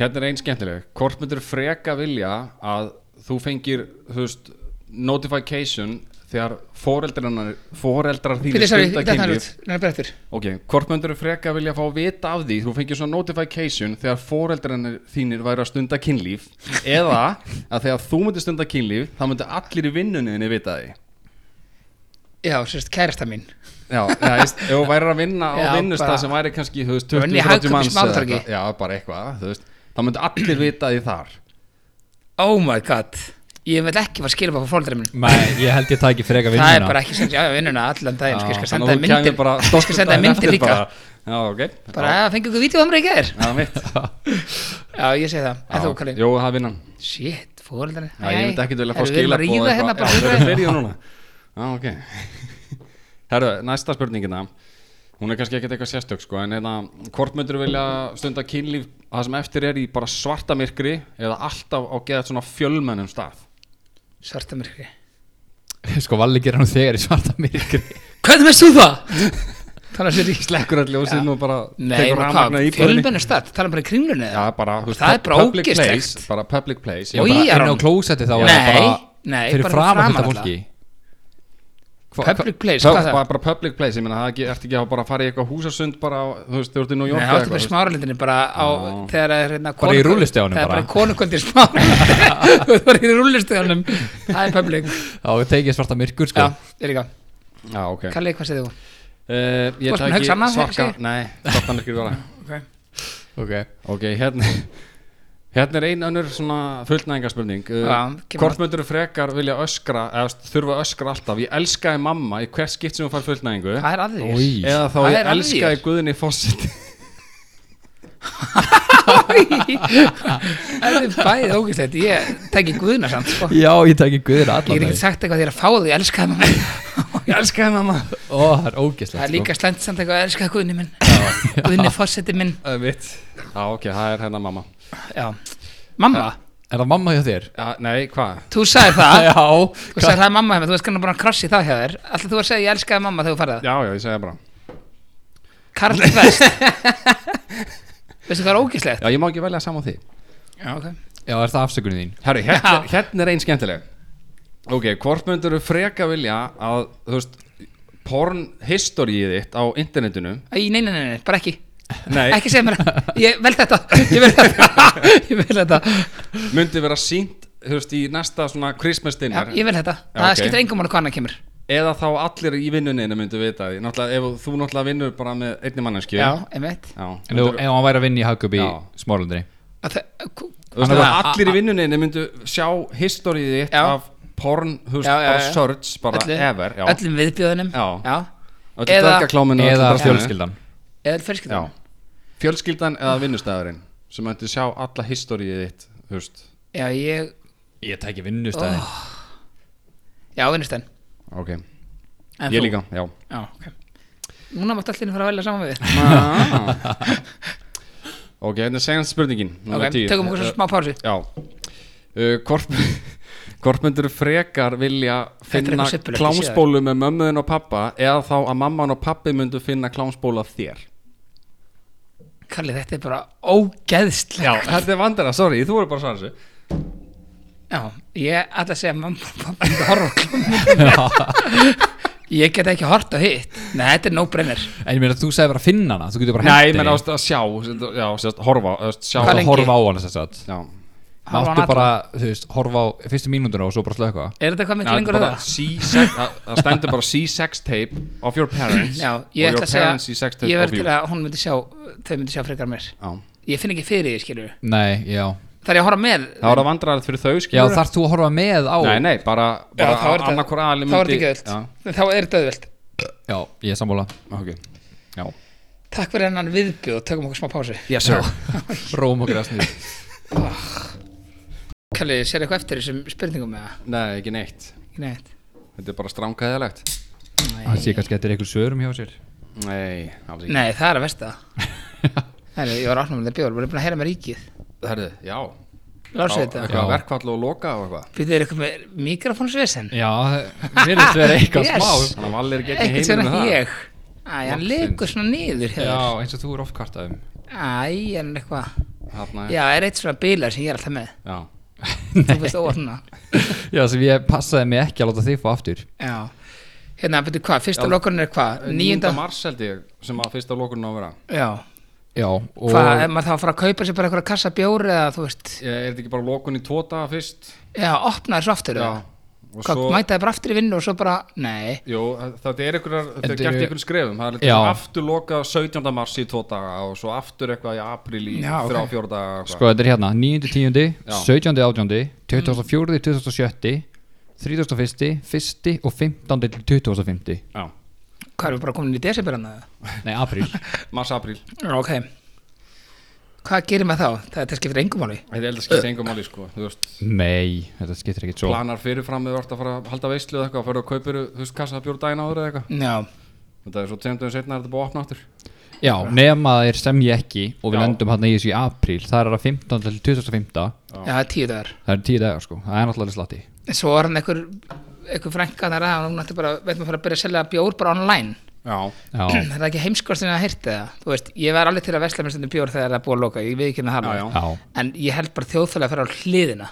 A: Hérna er einn skemmtileg Hvort myndir freka vilja að þú fengir þú veist, notification þegar foreldrarnar foreldrar þínir
B: fyrir þessari,
A: stunda
B: þetta er
A: kynlíf
B: hlut nefnir eftir,
A: ok, hvort myndir freka vilja fá vita af því þú fengir svona notification þegar foreldrarnar þínir væri að stunda kynlíf eða að þegar þú myndir stunda kynlíf þá myndir allir í vinnunniðinni vita því
B: já, sérst kærasta mín
A: Já, já veist, ef þú værir að vinna á
B: Já,
A: vinnustað
B: bara-
A: sem væri kannski þú veist,
B: Þú vinni í
A: 20-30
B: Hagkaup í
A: manns eða
B: Smáratorgi.
A: eitthvað. Já, bara eitthvað, þú veist Það myndi allir vita því þar
B: oh my god, ég vil ekki fara skilfa frá fóldra minn
C: Nei, ég held ég takki freka vinnuna
B: það er bara ekki sem, já, já, vinnuna allan daginn sko, ég skal senda
A: Þannig
B: þér
A: að þú kæmir
B: myndir,
A: bara
B: ég skal
A: daginn
B: senda þér myndir
A: eftir
B: líka
A: bara. Já, ok
B: bara, "Ah, já, fengið þú vítjum um í gær
A: Já, mitt
B: já, ég segi það, en þú, Kalli
A: Jó, það er vinnan
B: shit, fóldra
A: Já, ég myndi ekki vilja fá
B: við erum að
A: skila
B: ríða hérna
A: Já, það er
B: bara
A: fyrir núna Já, ok Herðu, næsta spurningina Hún er kannski ekkert eitthvað sérstök, sko En hérna, hvort myndur vilja stunda kynlíf Það sem eftir er í bara svarta myrkri Eða alltaf á geða svona fjölmennum stað
B: svartamyrkri
C: Sko, valli gera nú þegar í svarta myrkri
B: hvernig veist þú það? þannig að sér í
A: slekkur öll ljósið nú bara
B: Nei,
A: tekur
B: nú hvað,
A: rafmagnið í íbúðinni.
B: fjölmennu stað, tala um bara í kringlunni
A: Já,
B: eða?
A: bara, þú veist,
B: Það er bara
A: public
B: ógeðslegt.
A: place, bara public place
B: Oj,
A: Ég bara,
B: já.
C: Inn á klósetti þá
B: Nei,
C: er það bara
B: nei,
C: Fyrir
B: bara
C: framan
B: framan
C: þetta
B: alla.
C: fólki
B: Public place,
A: Pub-
B: hvað það?
A: bara, bara public place, ég meina það er ekki, ertu ekki að bara fara í eitthvað húsasund bara, á- þú veist, þú ert í New
B: Nei,
A: York
B: það
A: eða
B: var bara í
A: þú veist.
B: smáralindinni bara á, þegar það er hérna
C: Bara í
B: konukvöld-
C: rúllustjáunum
B: Það er bara
C: bara.
B: í konukvöldir smáralindinni Það var í rúllistjáunum Það er public
C: Já, við tekið svarta
B: Já,
C: myrkur sko
B: ég líka
A: Já, ok uh,
B: Kalli, hvað segir þú?
A: Eh, Ég
B: varst búin að hugsa annað,
A: svarta,
B: segir-
A: nei, svarta myrkri vera
B: Okay.
C: Ok
A: Ok, hérna Hérna er ein önnur svona fullnæðingarspurning
B: Já,
A: uh,
B: kemur
A: Hvort
B: að-
A: myndur frekar vilja öskra eða þurfa að öskra alltaf, ég elskaði mamma í hvert skipt sem hún fær fullnæðingu
B: Það er að því
C: Í.
A: eða þá
B: Það
A: ég
B: er að
A: elskaði
B: þér.
A: Guðni Fossit
B: Það er bæðið ógæslegt Ég tekki guðna samt sko.
C: Já, ég takki guður
B: Ég
C: allan
B: get ekki
C: dag
B: sagt eitthvað þér að fá því, ég elska það
A: Ég elskaði mamma
C: Ó, það er sko. ógeslegt
B: Það er líka slæmt samt eitthvað, ég elska það guðni minn Guðni fósetti minn
A: Það er mitt Já, ok, það er hennar mamma
B: Já. Mamma,
C: Er það mamma hjá þér?
A: ja, Nei, hvað?
B: þú sagði það
C: Já
B: Þú sagði það er mamma hefði, þú veist kannar bara að krossi það hjá þér Alltaf þú var að segja ég elskaði mamma þegar þú farið það
A: Já, já, ég segja bara
B: Karl Vest Veistu hvað er ógæslegt?
A: Já, ég má ekki velja saman því
B: Já, ok
C: Já, er það afsökunin þín?
A: Herri, hérna, hérna er einn skemmtileg Ok, hvort myndur þú freka vilja að, þú veist porn historið þitt á internetinu
B: Æ, nei, nei, nei, nei, bara ekki
A: Nei,
B: Ekki segja mér það. Ég vel þetta Ég vel þetta Ég vel þetta
A: myndi vera sínt, þú veist, í næsta svona Christmas
B: Já,
A: dinner
B: ég vel þetta
A: Já,
B: Það
A: ok.
B: skiptir engum máli hvað annað kemur
A: eða þá allir í vinnuninu myndu vita því Náttúrulega, ef þú náttúrulega vinnur bara með einni manneski
B: Já, einmitt
A: Já,
C: En þú, ef hann væri að vinna í Hagkaup í
A: Já.
C: Smárlundri
B: Að það-
A: Þú
B: kú-
A: veist,
B: Þannig
A: ef
B: að-
A: allir í vinnuninni myndu sjá historið þitt
B: Já.
A: af porn, þú veist,
B: Já, já,
A: bara
B: já.
A: search, bara
B: öllu-
A: ever já.
B: Öllum viðbjöðunum
A: Já. Öllu
B: eða-
A: döggjagláminu, öllu
C: Eða
A: draslinu.
C: fjölskyldan
B: Eða fjölskyldan
A: Já. Fjölskyldan eða vinnustæðurinn sem myndu sjá alla historið þitt, þú veist
B: Já, ég
C: Ég tæki vinnustæði
B: Ah. Já, vinnustæn
A: Ok,
B: En
A: ég
B: þú?
A: líka, já
B: Já, ok Núna máttu allir fara að velja saman við þér
A: Ok, þetta er segjast spurningin númer
B: Ok,
A: tíu.
B: tökum okkur svo smá pásu
A: Já uh, Hvort, hvort myndur frekar vilja
B: er
A: finna
B: eitthvað sippulegt, ég sé það.
A: klámsbólu með mömmuðin og pappa eða þá að mamman og pappi myndu finna klámsbólu af þér
B: Kalli, þetta er bara ógeðslega
A: Já, þetta er vandara, sorry, þú voru bara svara þessu
B: Já, ég ætla að segja mamma og pappa myndi horfa á klónmyndina Ég get ekki hort á hitt Nei, þetta er no-brainer
C: En ég meina þú sagði bara að finna hana Þú getur bara
A: Nei,
C: hengt
A: menn
C: henni
A: ást að sjá, sem- já, sérst, horfa sérst, sjá
B: Hvað
C: Bara
B: lengi?
C: horfa á hana sem sagt
A: Já,
B: Horfa á
C: Máttu
B: hana
C: bara, þú veist, horfa á fyrstu mínúnduna og svo bara slöka
B: Er þetta hvað
A: Já,
B: mikið lengur að
A: bara
B: það?
A: C-sex- það það stendur bara C-sex tape of your parents
B: Já,
A: og
B: ég ætla
A: your
B: að
A: parents
B: segja
A: C-sex tape
B: Ég
A: of
B: verð
A: you
B: til að hún myndi sjá Þau myndi sjá frekar mér
A: Já.
B: Ég finn ekki fyrir því, skilur
C: Nei, já
B: Það er að horfa með
A: Það voru vandrarið fyrir þau,
C: Já,
A: skilur
C: þarf þú að horfa með á
A: Nei, nei, bara,
B: Já,
A: bara
B: þá er þetta-
A: annarkvor aðli
B: Þá er
A: myndi
B: þetta ekki öðvöld Þá er þetta öðvöld
C: Já, ég er sammála
A: ekki öll Já, ok
B: Takk fyrir hennan viðbjóð Tökum okkur smá pásu
A: Yes, sir
C: Róm og græsni
B: Kalli, sér eitthvað eftir þessum spurningum með það?
A: Nei, ekki neitt
B: Nei, þetta-
A: Þetta er bara stránkæðilegt
C: Það sé kannski að þetta er einhver svörum hjá sér
A: Nei, alls ekki
B: Nei, það er að versta Herri, ég var átnum með bjór, bara búin að heyra með ríkið
A: Herðu, já
B: Lásveita
C: Já.
A: Eitthvað verkvall og loka og eitthvað
B: Býtið er eitthvað með mikrofónsvesen
C: Já, virðist vera eitthvað
B: Yes.
C: smá
A: Þannig að Valir er ekki
B: Ekkert
A: heimur með
B: svona
A: það
B: ég Æ, hann leikur svona niður
C: Já,
B: hefur
C: eins og þú er ofkartaðum
B: Æ, hann er eitthvað
A: Þarna er-
B: Já, er eitt svona bílar sem ég er alltaf með
A: Já
B: Þú veist óvarna
C: Já, sem ég passaði mig ekki að láta þig fá aftur
B: Já Hérna, betur hvað, fyrsta
A: Já.
B: lokurinn er hvað?
A: 9.
B: Níunda
A: mars held ég sem að fyrsta lokunin á að vera
B: Já,
C: Já, og
B: hvað, er maður þá að fara að kaupa sér bara eitthvað kassa bjóri eða þú veist
A: Ég- Eh, Er þetta ekki bara lokun í tvo daga fyrst?
B: Já, opnaði svo aftur eða?
A: Og
B: Hvað,
A: svo
B: mætaði bara aftur í vinnu og svo bara, nei
A: Jú, þetta er einhverjar, þetta er
C: Þetta
A: gert
C: eru-
A: í einhverjum skrefum Það er
C: Já.
A: eitthvað aftur lokað 17. mars í tvo daga og svo aftur eitthvað í april í
B: Já, ok.
A: þrjá fjóra daga eitthvað.
C: Sko, þetta er hérna 9. 10.
A: Já.
C: 17. 18. 24. 27. 31. 1. og 15. til 25.
A: Já,
B: Hvað erum við bara komin í desember hann að
C: Nei, apríl
A: mars, april
B: það? Ok Hvað gerir maður þá? Þetta skiptir engum áli
A: Þetta er held að skipta engum máli sko Þú veist,
C: Nei, þetta skiptir ekkert svo
A: planar fyrirfram eða vart að fara að halda veislu eða eitthvað Fyrir að kaupir, þú veist, kassa bjór daginn áður eða eitthvað
B: Já,
A: Þetta er svo tjönduðum setna er þetta búið að opna aftur
C: Já, nema þeir sem ég ekki og við
A: Já.
C: lendum hérna í þessu í apríl það er að 15. til 25.
B: já, það er tíu dagar
C: Það er 10 dagar sko, það er náttúrulega slatti
B: En svo var hann einhver, einhver frænka þar að hún ætti bara, veit maður fara að byrja að selja bjór bara online
A: Já,
C: Já,
B: Það er ekki heimskostin að heyrta það Þú veist, ég var alveg til að vesla með stundum bjór þegar það er búið að loka Ég veit ekki hann að
A: Já,
B: það
C: já,
B: En ég held bara þjóðfælega að fara á hliðina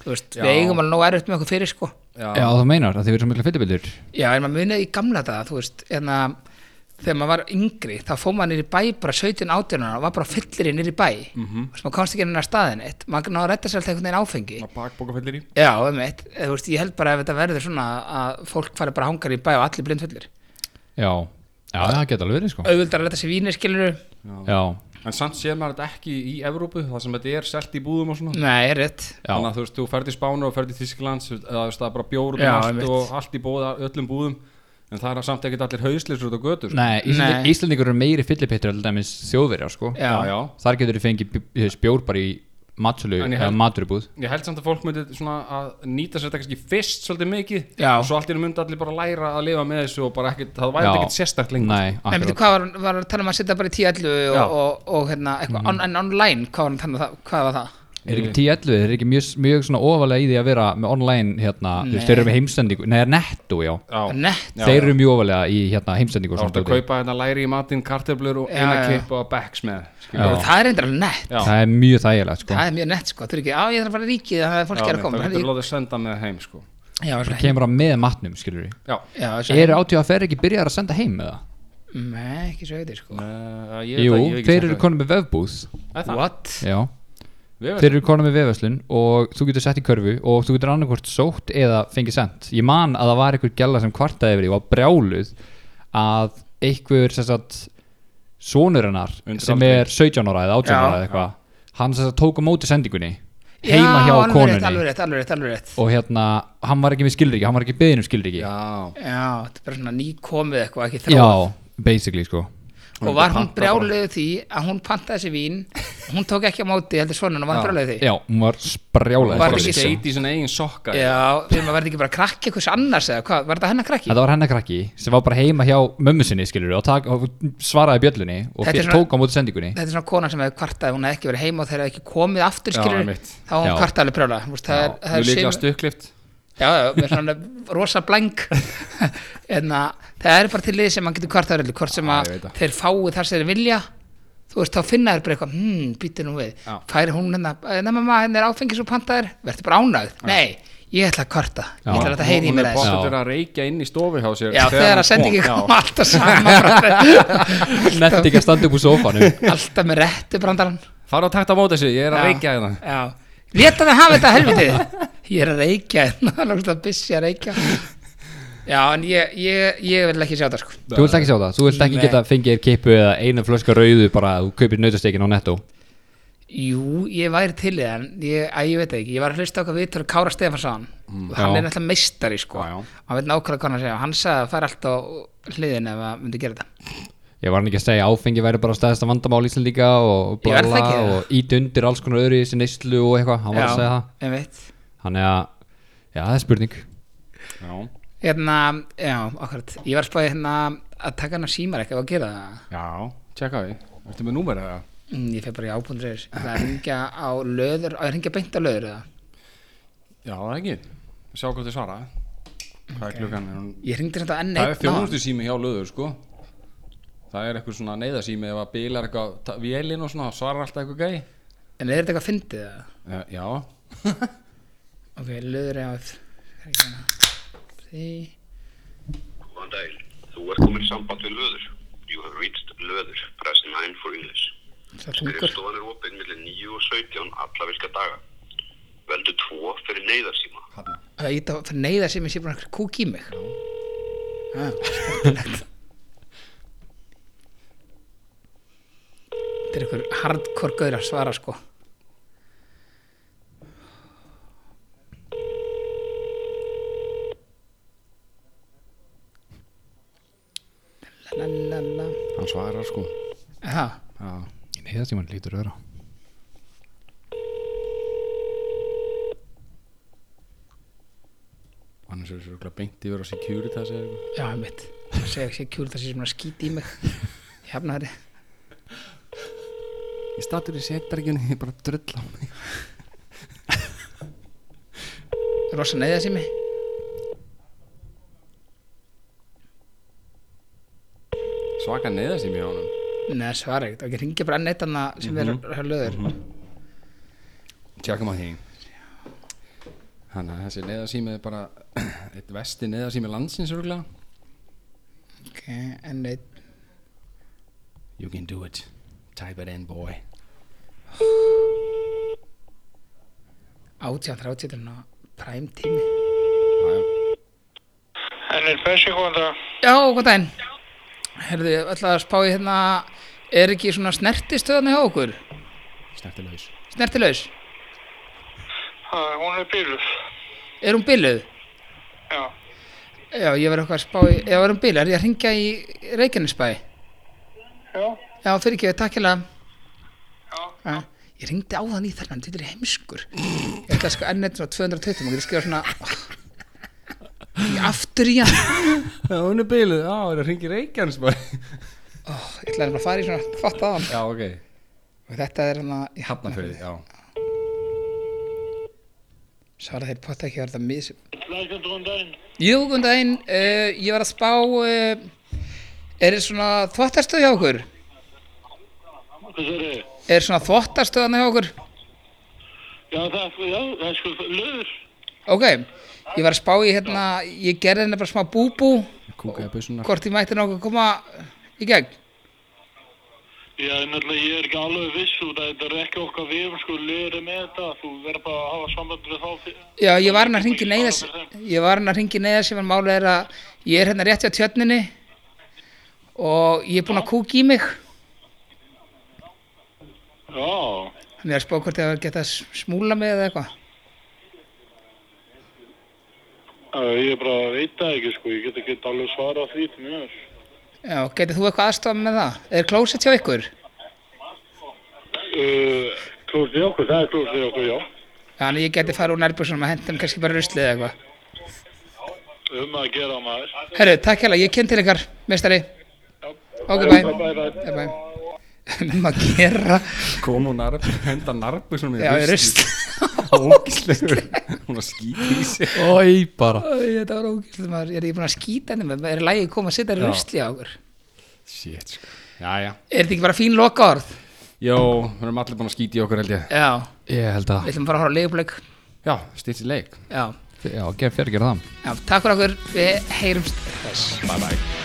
B: Þú veist,
A: Já.
B: við eigum alveg nóg erfitt með okkur fyrir sko
A: já,
C: já þú meinar að þið verður svo mikla fyllibildur
B: Já, en maður munið í gamla daga, þú veist, en að þegar maður var yngri, þá fór maður nýri bæ bara 17 átjörnuna og var bara fyllir í nýri bæ mm -hmm. og maður komst ekki inn á staðin eitt, maður náður að redda sér alltaf einhvern veginn áfengi
A: já Bakbókafyllir í
B: Já, um eitt, þú veist, ég held bara ef þetta verður svona að fólk fari bara hangar í bæ og allir blind fyllir
C: Já, já, það geta alveg verið sko
B: auðvöldar að redda sér vínir, skilur
C: Já,
A: En samt séð maður þetta ekki í Evrópu Það sem þetta er selt í búðum og svona
B: Nei, er rétt
C: já,
A: Þannig að þú veist, þú ferð í Spánu og ferð í Þískland eða þú veist, það er bara bjór út
B: Já,
A: um allt
B: einmitt.
A: og allt í bóða, öllum búðum en það er samt ekkert allir hauslisur út á götur
C: Nei,
B: Nei.
C: Íslandi, Íslandingur eru meiri fyllipittur heldur dæmis þjóðverjar sko
B: Já.
A: já,
C: Þar getur þið fengið bj- þess bjór bara í matsölu
A: En ég
C: eða
A: held-
C: maturubúð
A: Ég held samt að fólk myndi svona að nýta sér þetta kannski fyrst svolítið mikið
B: Já.
A: og svo allt í einu myndi allir bara læra að lifa með þessu og bara ekkert, það væri
C: Já.
A: ekkert sérstakt lengur
C: Nei,
B: Nei, betur,
C: akkurat
B: hvað var, var að tala um að setja bara í 10-11 og,
A: Já.
B: og, og, hérna, eitthvað, on, en online, hvað var, hann að tala um það, hvað var það?
C: Er ekki 10-11, er ekki mjög, mjög svona ofalega í því að vera með online hérna þú veist,
B: Nei.
C: Þeir eru með heimsendingu, nei, netto, já
A: Já,
B: Nett,
A: Já,
C: Þeir
A: já.
C: eru mjög ofalega í hérna heimsendingu og
A: þá
C: svona
A: ertu að
C: dóti.
A: kaupa þetta læri í matinn, kartöflur og
B: Já,
A: eina
B: já.
A: kippa og becks með skilur.
C: Já.
B: það er reyndar alveg nett
A: Já.
C: Það er mjög þægilegt sko
B: Það er mjög nett sko, þú er ekki, á ég þarf að fara í ríkið það er
A: Já,
B: fólk er að
A: mitt,
B: koma
A: Það getur látið að senda með heim sko.
B: Já, svo heim
C: Kemur á með matnum, skilur við
A: Já,
B: Já, svo
C: Eru átíða að fer ekki byrjar að senda heim eða?
B: Nei, ekki svo auðvitað sko
A: uh,
C: Jú, þeir eru konum með vefbúð
A: What?
C: Já, þeir eru konum með vefverslun og þú getur sett í körfu og þú getur annarkvort sótt eða fengið sent Ég man að það var einhver gæla sem kvartaði yfir því og var brjáluð að einhver sem sagt sonur hennar
A: Undir
C: sem
A: aldri.
C: er 17 ára eða 18
B: Já.
C: ára eða eitthvað hann sem sagt tók á móti sendingunni heima hjá
B: alveg rétt,
C: konunni
B: Alveg rétt, alveg rétt, alveg rétt
C: og hérna, hann var ekki með skilriki hann var ekki beðin um skilriki
A: Já,
B: Já, þetta er bara svona nýkomið eitthvað, ekki þróað
C: Já, basically sko
B: Og var hún
A: Panta bara.
B: brjáluð því að hún pantaði sér vín Hún tók ekki á móti, heldur svona, hún var brjáluð því
C: Já, hún var sprjálega
B: Var
A: bara
B: ekki-
A: skeit í sinna eigin sokka
B: Já, við maður verði ekki bara krakki einhvers annars eða hvað, var þetta hennar krakki?
C: Þetta var hennar krakki sem var bara heima hjá mömmu sinni skilur og, tak, og svaraði bjöllunni og
B: Þetta er
C: fyrir,
B: svona-
C: tók á móti sendingunni
B: Þetta er svona kona sem hefði kvartað, hún hefði ekki verið heima og þeir hefði ekki komið aftur
A: Já,
B: skilur
A: einmitt.
B: Þá var
C: Já.
B: hún kvartað alveg brjála Það er, það
A: Mjög
B: er
A: líklega
B: sum-
A: stökklift
B: Já, já, með svona rosa blank en að það er bara til lið sem mann getur hvort það er hvort sem
A: Já,
B: að
A: ég veit það.
B: þeir fái þar sem þeir vilja þú veist, þá finna þér bara eitthvað hmm, býttu nú við,
A: Já.
B: færi hún hérna nema mamma, henni er áfengis og pantaðir verður bara ánægð, nei, ég ætla að kvarta ég ætla að þetta heyri í mér
A: er
B: aðeins
A: bótt
C: aðeins.
A: að vera að reykja inn í stofu hjá sér
B: Já, þegar að sendi ekki
A: kom
B: koma alltaf saman
C: Nett ekki að standa upp úr sófanum
B: alltaf með réttu brandarann
A: Það er að takta á móti þessu, ég er að
B: Já.
A: reykja hérna
B: Já, leta þið hafa þetta helvitið Ég er að reykja hérna, Það er lókst að byssi að reykja Já, en ég, ég, ég vil ekki sjá það sko
C: Þú vilt ekki sjá það, þú vilt ekki
B: Nei.
C: geta fengið þér kippu eða eina flöska rauðu bara að þú kaupir nautastekin á netto
B: Jú, ég væri til í það en ég, að, ég veit það ekki, ég var að hlusta okkar viðtölu Kára Stefansson og hann
C: Já.
B: er náttúrulega meistari sko
A: Já, já.
B: hann veit nákvæmlega hvað hann að segja hann sagði að það fær allt á hliðin ef að myndi gera þetta
C: Ég var hann ekki að segja áfengi væri bara staðasta vandamál Íslandíka og
B: Ég verð það
C: blala
B: ekki, eða?
C: og ít undir alls konar öðru í þessi neyslu og eitthvað, hann var að segja það
B: Já, ég veit
C: Þannig að, já það er spurning
A: Já,
B: Hérna, já, akkurat Ég var spáðið hérna að taka hann að símar ekki að gera það
A: já, tjekka því Ertu með númerið það?
B: Mm, ég fer bara í ábúndriðis. Það er að ringja á löður, að ringja beint á löður eða?
A: Já, það er ekki Sjá hvað þið svara Hvað er klukkan? Er hún...
B: Ég ringdi þetta enn
A: Það er
B: eitt
A: þjónustu sími hjá löður sko Það er eitthvað svona neyðasími ef að bílar eitthvað ta- vélin og svona þá svarar alltaf eitthvað gæi
B: En er þetta eitthvað fyndið eða?
A: Eh, Já,
B: Ok, löður eða að... Það er ekki hana. Því...
F: Góðan daginn. Þú ert komin í samband við löður. You have reached löður. Press 9 for English.
B: Það er þungur.
F: Skrifstofan er opinn millir 9 og 17 alla virka daga. Veldu 2 fyrir neyðarsíma.
B: Það íta fyrir neyða sem ég sé bara einhver kúk í mig. Ha, skemmtilegt. Þetta er einhver hardcore gaur að svara sko. La, la, la, la.
A: hann svarar sko
B: Aha,
A: Já,
C: Í neyðastíman lítur öðra
A: annars er þessu beint yfir á securitas eða eitthvað
B: já, mitt. Það segja ekki kjúl það sé sem að skýti í mig. Ég hefna þetta.
A: Ég statur í setberginni, ég bara drölla mig
B: Rosa neyða sem ég.
A: Svaka neyðasími hjá honum
B: Nei, það svarar ekkert. Ok, ringi bara enn eitt annað sem mm -hmm. er að löður.
A: Tjekkum um á því Þannig að þessi neyðasími er bara eitt vesti neyðasími landsins örgulega
B: Ok, enn eitt.
A: You can do it Type it in boy
B: Átján, þrjátján, þetta er ná præm tími.
A: Já, já
G: Ennir Bessi, góðan dag.
B: Já, góð daginn. Herðu, ég ætla að spá í hérna, er ekki svona snertistöðan hjá okkur?
A: Snertilaus
B: Snertilaus?
G: Ha, Hún er bíluð.
B: Er hún biluð?
G: Já.
B: Já, ég verði eitthvað að spá í, ef það er hún biluð, er ég að ringja í Reykjanesbæ?
G: Já.
B: Já, fyrir ekki, takk hérlega.
G: Já.
B: Já. Ég ringdi á þann í þennan, þetta er heimskur. Ég ætla að sko enn eitt svona 220, maður getur skrifa svona, Ég aftur í hann.
A: Já, hún er bíluð, já, hún er að ringi Reykjanes bara
B: Ég ætlaði nefnilega að fara í svona fatt aðan
A: Já, ok,
B: og þetta er hérna, hann að
A: hafnafyrði, já
B: Svara þeir potta ekki að verða mis
G: Lækjum góðan daginn.
B: Jú, góðan daginn, uh, ég var að spá uh, Er þetta svona þvottarstöð hjá okkur?
G: Hvað sér þið?
B: Er svona þvottarstöðan hjá okkur?
G: Já, það, já, það er sko löður.
B: Ok, ég var að spá í hérna Ég gerði henni bara smá búbú
A: Kúkaði bussunar
B: Hvort ég mætti nokkuð koma í gegn
G: Já, náttúrulega ég er ekki alveg viss út að þetta er ekki okkar við erum sko löður með þetta. Þú verður bara að hafa samband við þá. fyrir-
B: Já, ég var hann að ringi neyðas Ég var hann að ringi neyðas sem var málið er að Ég er hérna rétt hjá tjörninni Og ég er búinn að kúka í mig
G: Já.
B: Þannig að spá hvort ég geta smúla mig eða eitthvað
G: Uh, ég bara veit það ekki sko. Ég get ekki alveg svarað því til mér.
B: Já, getið þú eitthvað aðstofa með það? Er klósett hjá ykkur?
G: Uh, klósið okkur, það er klósið okkur, já.
B: Þannig ég geti farið úr nærbúsunum að hendum kannski bara ruslið eða eitthvað.
G: Um að gera maður.
B: Herru, takk hérlega, ég kynnt til ykkar, meistari. Ok, bæ. Bæ, bæ. Um að gera,
A: Kom hún narp, henda narpu svona
B: já, í rusl.
A: Ógislegur Hún var skýt í sig
C: Ói bara
B: Æ, Þetta var ógæslega maður, ég er búin að skýta henni, maður er lægið koma að setja
A: Já.
B: rusli á okkur.
A: Shit, sko Já, já
B: Er þetta ekki bara fín loka orð?
A: Jó, við erum allir búin að skýti í okkur held ég
B: Já,
C: Ég held að
B: við ætlum bara að horfa á leifbleik.
A: Já, stýrt í leik
B: Já,
C: Já, gerð fyrir að gera það
B: já, takk fyrir okkur, við heyrumst þess.
A: Bye bye